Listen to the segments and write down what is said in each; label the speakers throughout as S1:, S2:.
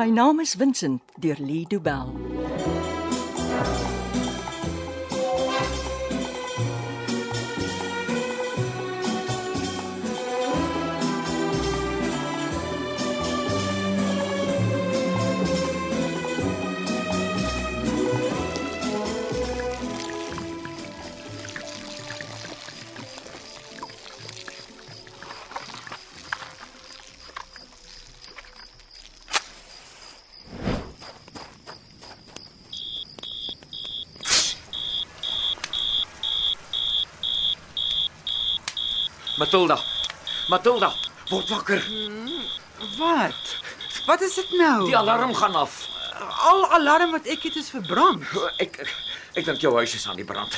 S1: My naam is Vincent deur Lee Du Bell.
S2: Matilda. Matilda, word wakker.
S3: Wat? Wat is dit nou?
S2: Die alarm gaan af.
S3: al alarm wat ek het is verbrand.
S2: Ek ek dink jou huis is aan die brand.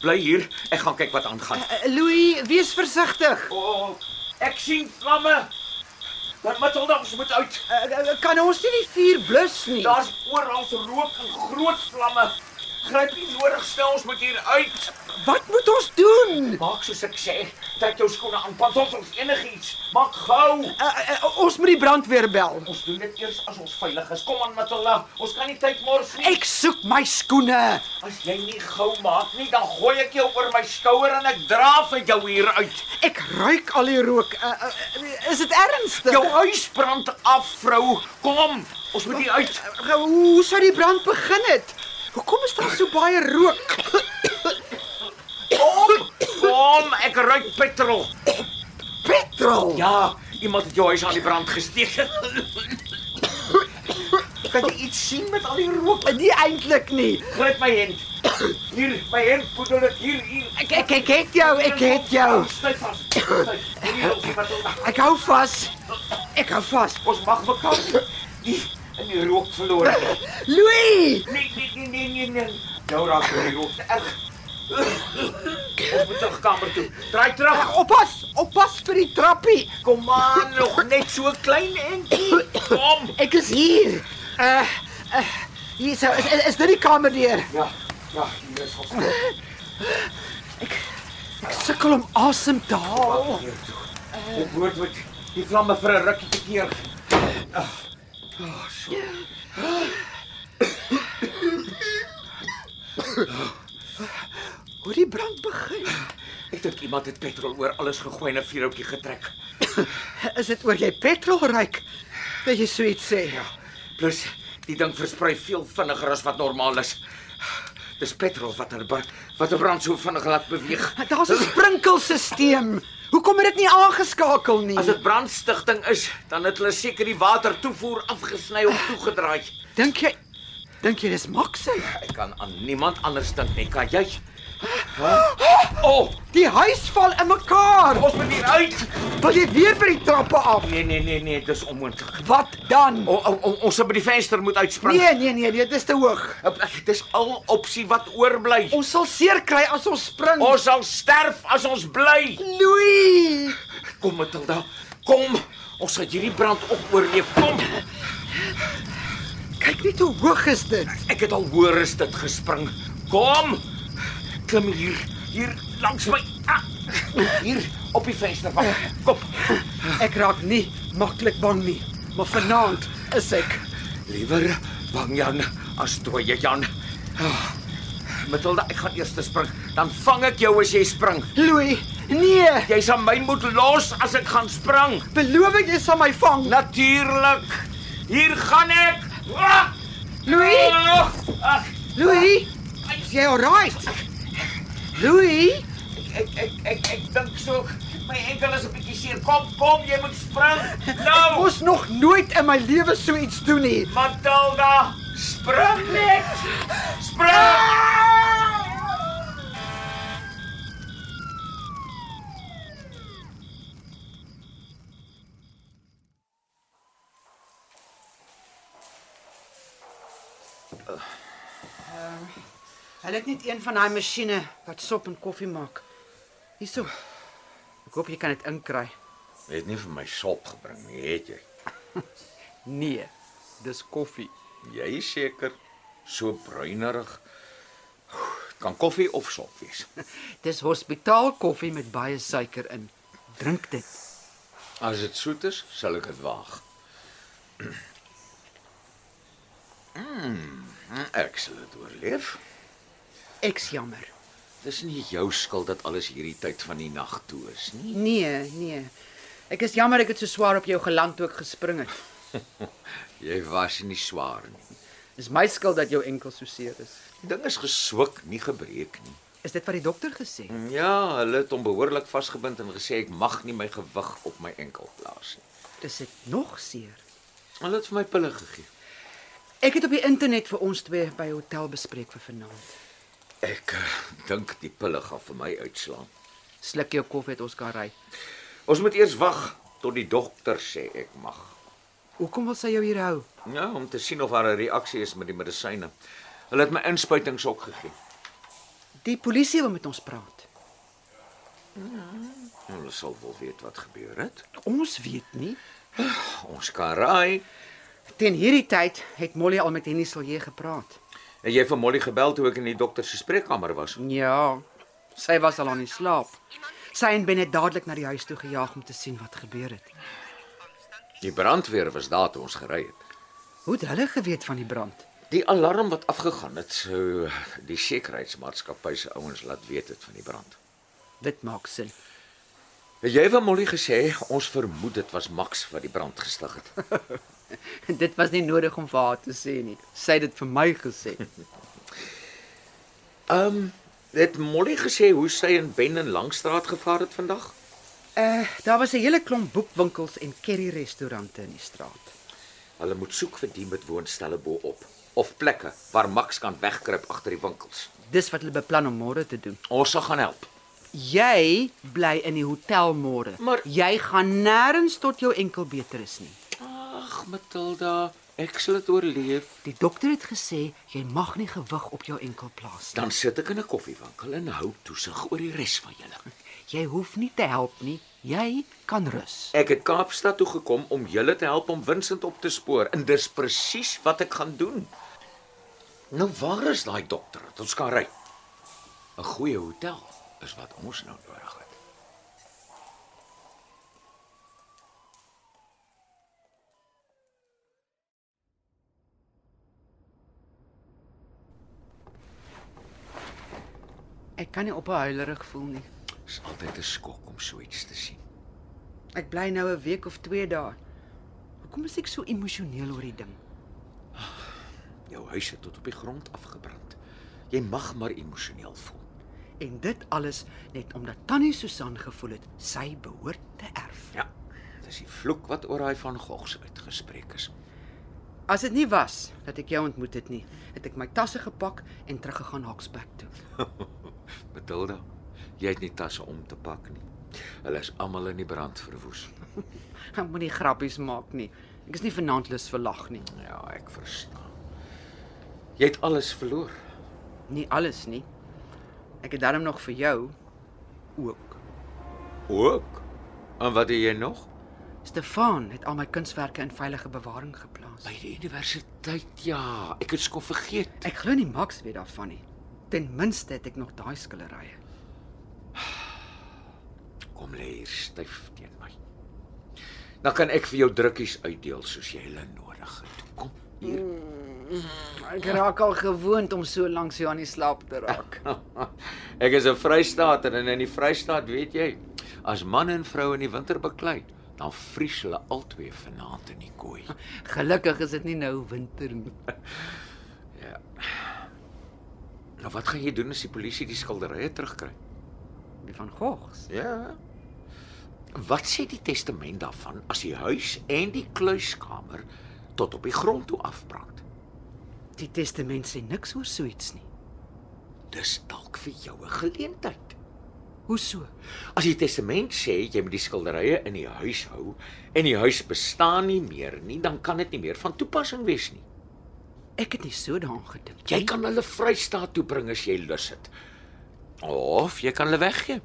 S2: Bly hier, ek gaan kyk wat aangaan.
S3: Eh, Louis, wees versigtig.
S2: O, oh, ek sien vlamme. Maar Matilda, ons moet uit.
S3: Eh, eh, Kan ons nie die vuur blus nie?
S2: Daar's oral rook en groot vlamme. Gryp nie nodig, stel ons moet hier uit.
S3: Wat moet ons doen?
S2: Maak soos ek sê, trek jou skoene aan, pantoffels, enigiets. Maak gou.
S3: Eh, eh, Ons moet die brandweer bel.
S2: Ons doen dit eers as ons veilig is. Kom aan Matilda, ons kan nie tyd mors nie.
S3: Ek soek my skoene.
S2: As jy nie gou maak nie, dan gooi ek jou oor my skouer en ek draaf uit jou hier uit.
S3: Ek ruik al die rook. Eh, eh, eh, Is dit ernstig?
S2: Jou huis brand af, vrou. Kom, ons moet hier uit.
S3: Eh, Hoe sou die brand begin het? Hoekom is daar so baie rook?
S2: Kom, kom, ek ruik petrol.
S3: Petrol.
S2: Ja, iemand het jou huis aan die brand gesteek. kan jy iets sien met al die rook?
S3: Eh, Nie eintlik nie.
S2: Gryp my hand. Hier, my hand, poedel dit hier, hier.
S3: Ek ek ek het jou, ek het jou.
S2: Styf vas. styf. Moenie los nie, Matilda.
S3: Ek hou vas. Ek hou vas.
S2: Ons mag mekaar nie in die rook verloor nie.
S3: Louis!
S2: Nee, nee, nee, nee, nee, nee. Nou raak jy op te erg. Ons moet terug kamer toe. Draai terug.
S3: Eh, Oppas, oppas vir die trappie.
S2: Kom aan, nog net so klein entjie. Kom.
S3: Ek is hier. Uh, uh hier is, is, is dit die kamerdeur.
S2: Ja, ja, hier is ons. Kom
S3: Ek sukkel om asem te haal.
S2: hier toe. Ek moet met die vlamme vir 'n rukkie te keer. Ag. Ag, so.
S3: Hoe die brand begin.
S2: Ek dink iemand het petrol oor alles gegooi en 'n vuurhoutjie getrek.
S3: Is dit oor jy petrol ruik? Dat jy so iets sê.
S2: Ja. Plus die ding versprei veel vinniger as wat normaal is. Dis petrol wat 'n brand wat 'n brand so vinnig laat beweeg.
S3: Daar's 'n sprinkelstelsel. Hoekom het dit nie aangeskakel nie?
S2: As dit brandstigting is, dan het hulle seker die watertoevoer afgesny of toegedraai.
S3: Dink jy dink jy dis Max?
S2: Ek kan aan niemand anders dink nie, kan jy? O, oh,
S3: Die huis val in mekaar.
S2: ons moet hier uit.
S3: Wil jy weer by die trappe af?
S2: Nee, nee, nee, nee, dis onmoontlik.
S3: Wat dan?
S2: O, o, o, ons sal by die venster moet uitspring.
S3: Nee, nee, nee, dit is te hoog.
S2: Nee. Dis al opsie wat oorbly.
S3: Ons sal seer kry as ons spring.
S2: Ons sal sterf as ons bly.
S3: Louis,
S2: Kom Matilda, kom. Ons gaan hierdie brand op oorleef. Kom.
S3: kyk net hoe hoog is dit.
S2: Ek het al hoor is dit gespring. Kom. Klim hier, hier langs my. Ah, hier op die vensterbank. Kom.
S3: Ek raak nie maklik bang nie, maar vanaand is ek.
S2: Liewer bang Jan as dooie Jan. Ah, Matilda, ek gaan eers spring, dan vang ek jou as jy spring.
S3: Louis, nee,
S2: Jy sal my moet los as ek gaan spring.
S3: beloof jy sal my vang.
S2: Natuurlik. Hier gaan ek. Ah!
S3: Louis,
S2: Ag, ag,
S3: Louis, is jy alright? Louis,
S2: ek ek ek ek dink so my enkel is 'n bietjie seer. Kom, kom, jy moet spring. Nou.
S3: ons nog nooit in my lewe so iets doen nie.
S2: Matilda, spring net. Spring!
S3: Hulle het net een van daai masjiene wat sop en koffie maak. Hierso. Ek hoop jy kan dit inkry.
S2: Jy het nie vir my sop gebring nie, het jy?
S3: Nee, dis koffie.
S2: Jy is seker so bruinerig. Kan koffie of sop wees.
S3: Dis hospitaalkoffie met baie suiker in. Drink dit.
S2: As dit soet is, sal ek dit waag. Hmm, Ek sal dit oorleef.
S3: Ek's jammer.
S2: Dis nie jou skuld dat alles hierdie tyd van die nag toe is nie.
S3: Nee, nee. Ek is jammer ek het so swaar op jou geland toe ek gespring het.
S2: Jy was nie swaar nie.
S3: Dis my skuld dat jou enkel so seer is.
S2: Die ding is geswik, nie gebreek nie.
S3: Is dit wat die dokter gesê het?
S2: Ja, hulle het hom behoorlik vasgebind en gesê ek mag nie my gewig op my enkel plaas nie.
S3: Is dit nog seer?
S2: Hulle het vir my pille gegee.
S3: Ek het op die internet vir ons twee by hotel bespreek vir vanaand.
S2: Ek eh, dink die pille gaan vir my uitslaan.
S3: Sluk jou koffie uit ons kan ry.
S2: Ons moet eers wag tot die dokter sê ek mag.
S3: Hoekom wil sy jou hier hou?
S2: Ja, om te sien of haar 'n reaksie is met die medisyne. Hulle het my inspuitings ook gegee.
S3: Die polisie wil met ons praat.
S2: Nou, Hulle sal wel weet wat gebeur het.
S3: Ons weet nie.
S2: Ons kan raai.
S3: Teen hierdie tyd het Molly al met Henny Silje gepraat.
S2: En jy het vir Molly gebel toe ek in die dokter se spreekkamer was.
S3: Ja, sy was al aan die slaap. Sy en Ben het dadelik na die huis toe gejaag om te sien wat gebeur het.
S2: Die brandweer was daar toe ons gery het.
S3: Hoe het hulle geweet van die brand?
S2: Die alarm wat afgegaan het, sou die sekuriteitsmaatskappy se ouens laat weet het van die brand.
S3: Dit maak sin.
S2: Het jy vir Molly gesê ons vermoed dit was Max wat die brand gestig het?
S3: Dit was nie nodig om vir haar te sê nie. Sy het dit vir my gesê.
S2: Ehm, um, het Molly gesê hoe sy in Ben en Langstraat gevaar het vandag?
S3: Uh, daar was 'n hele klomp boekwinkels en curryrestaurante in die straat.
S2: Hulle moet soek vir die met woonstelle bo-op of plekke waar Max kan wegkruip agter die winkels.
S3: Dis wat hulle beplan om môre te doen.
S2: Ons sal gaan help.
S3: Jy bly in die hotel môre.
S2: Maar-
S3: jy gaan nêrens tot jou enkel beter is nie.
S2: Ag, Matilda, ek sal dit oorleef.
S3: Die dokter het gesê jy mag nie gewig op jou enkel plaas nie.
S2: Dan sit ek in 'n koffiewinkel en hou toesig oor die res van julle.
S3: Jy hoef nie te help nie. Jy kan rus.
S2: Ek het Kaapstad toe gekom om julle te help om Vincent op te spoor en dis presies wat ek gaan doen. Nou waar is daai dokter? dat Ons kan ry. 'n Goeie hotel is wat ons nou nodig het.
S3: Ek kan nie op 'n huilerig voel nie.
S2: Dis altyd 'n skok om so iets te sien.
S3: Ek bly nou 'n week of 2 daar. Hoekom is ek so emosioneel oor die ding?
S2: Jou huis het tot op die grond afgebrand. Jy mag maar emosioneel voel.
S3: En dit alles net omdat Tannie Susan gevoel het sy behoort te erf.
S2: Ja, dis die vloek wat oor daai van Gogs uitgespreek is.
S3: As dit nie was dat ek jou ontmoet het nie, het ek my tasse gepak en teruggegaan Hogsback toe.
S2: Matilda, jy het nie tasse om te pak nie. Hulle is almal in die brand verwoes.
S3: Ek moenie grappies maak nie. Ek is nie vanaand lus vir lag nie.
S2: Ja, ek verstaan. Jy het alles verloor.
S3: Nie alles nie. Ek het darm nog vir jou ook.
S2: Ook. En wat het jy nog?
S3: Stefan het al my kunswerke in veilige bewaring geplaas.
S2: By die universiteit. Ja, ek het skof vergeet.
S3: Ek glo nie Max weet daarvan nie. Ten minste het ek nog daai skilderye.
S2: Kom lê hier styf teen my. Dan kan ek vir jou drukkies uitdeel soos jy hulle nodig het. Kom hier.
S3: Ek raak al gewoond om so lank so aan die slaap te raak.
S2: Ek is 'n Vrystaater en in die Vrystaat weet jy, as man en vrou in die winter beklei, dan vries hulle albei vanaand in die kooi.
S3: Gelukkig is dit nie nou winter nie.
S2: Nou wat gaan jy doen as die polisie die skilderye terugkry?
S3: Die van Gogs.
S2: Ja. Wat sê die testament daarvan as die huis en die kluiskamer tot op die grond toe afbrand?
S3: Die testament sê niks oor so iets nie.
S2: Dis dalk vir jou 'n geleentheid.
S3: Hoe so?
S2: As die testament sê jy moet die skilderye in die huis hou en die huis bestaan nie meer nie, dan kan dit nie meer van toepassing wees nie.
S3: Ek het nie so daaraan gedink.
S2: Jy kan hulle Vrystaat toe bring as jy lus het. Of jy kan hulle weggee.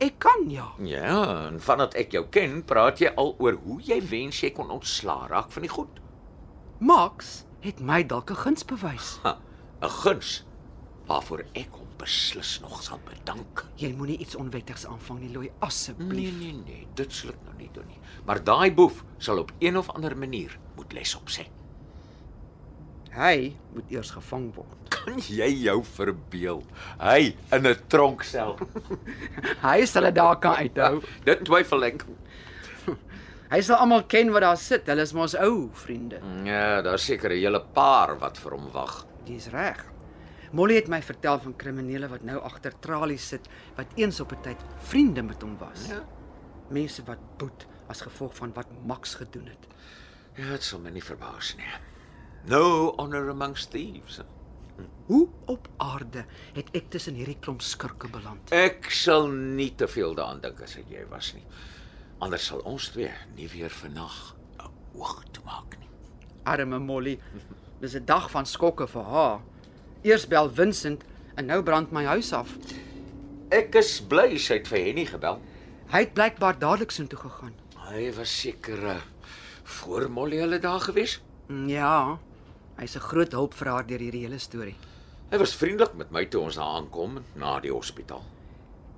S3: Ek kan ja.
S2: Ja, en vandat ek jou ken, praat jy al oor hoe jy wens jy kon ontslaa raak van die goed.
S3: Max het my dalk 'n guns bewys.
S2: Ha, 'n guns waarvoor ek hom beslis nog sal bedank.
S3: Jy moenie iets onwettigs aanvang nie, Loy, asseblief.
S2: Nee, nee, nee, dit sal ek nou nie doen nie. Maar daai boef sal op een of ander manier moet les opsê.
S3: Mm. Hy moet eers gevang word.
S2: Kan jy jou verbeel? Hy in 'n tronksel.
S3: Hy sal dit daar kan uithou.
S2: Dit twyfel ek.
S3: Hy sal almal ken wat daar sit. Hulle is mos ou vriende.
S2: Ja, daar's seker 'n hele paar wat vir hom wag.
S3: Dis reg. Molly het my vertel van kriminele wat nou agter tralies sit wat eens op 'n tyd vriende met hom was.
S2: Ja.
S3: Mense wat boet as gevolg van wat Max gedoen het.
S2: Ja, dit sal my nie verbaas nie. Nou, No honor amongst thieves.
S3: Hoe op aarde het ek tussen hierdie klomp skurke beland?
S2: Ek sal nie te veel daaraan dink as ek jy was nie. Anders sal ons twee nie weer vannag 'n oog toe maak nie.
S3: Arme Molly. Dis 'n dag van skokke vir haar. Eers bel Vincent en nou brand my huis af.
S2: Ek is bly sy het vir Henny gebel.
S3: Hy het blykbaar dadelik soontoe gegaan.
S2: Hy was seker eh, voor Molly hulle daar gewees.
S3: Ja. Hy's 'n groot hulp vir haar deur hierdie hele storie.
S2: Hy was vriendelik met my toe ons daar aankom na die hospitaal.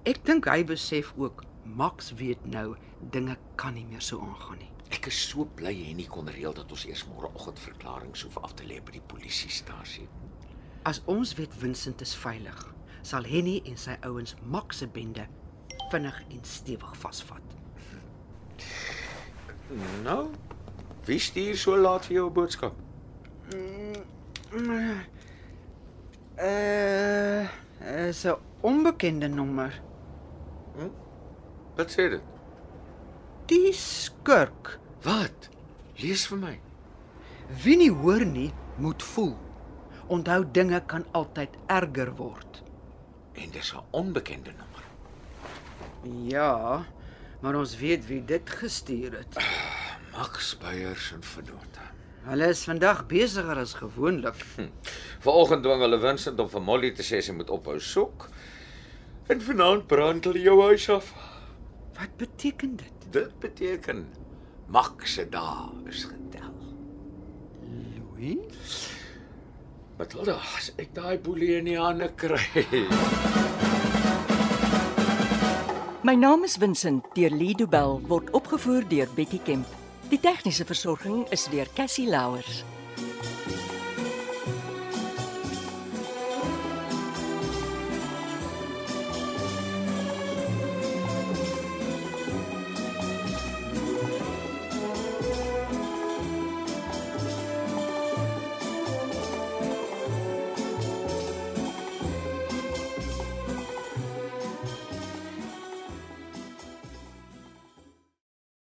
S3: Ek dink hy besef ook Max weet nou dinge kan nie meer so aangaan nie.
S2: Ek is so bly Henny kon reël dat ons eers môreoggend verklaringe hoef af te lê by die polisiestasie.
S3: As ons weet Vincent is veilig, sal Henny en sy ouens Max se bende vinnig en stewig vasvat.
S2: Nou, wie stuur so laat vir jou 'n boodskap?
S3: Eh, Uh, is 'n onbekende nommer.
S2: Wat sê dit?
S3: Die skurk.
S2: Wat? Lees vir my.
S3: Wie nie hoor nie, moet voel. Onthou dinge kan altyd erger word.
S2: En dis 'n onbekende nommer.
S3: Ja, maar ons weet wie dit gestuur het.
S2: Max Beyers en vennote.
S3: Hulle is vandag besigger as gewoonlik.
S2: Vanoggend dwing hulle Vincent om vir Molly te sê sy moet ophou soek. En vanaand brand hulle jou huis af.
S3: Wat beteken dit?
S2: Dit beteken Max se dae is getel.
S3: Louis?
S2: Matilda, as ek daai boelie in die hande kry.
S1: My naam is Vincent deur Lido Bell word opgevoer deur Betty Kemp. Die tegniese versorging is deur Cassie Louers.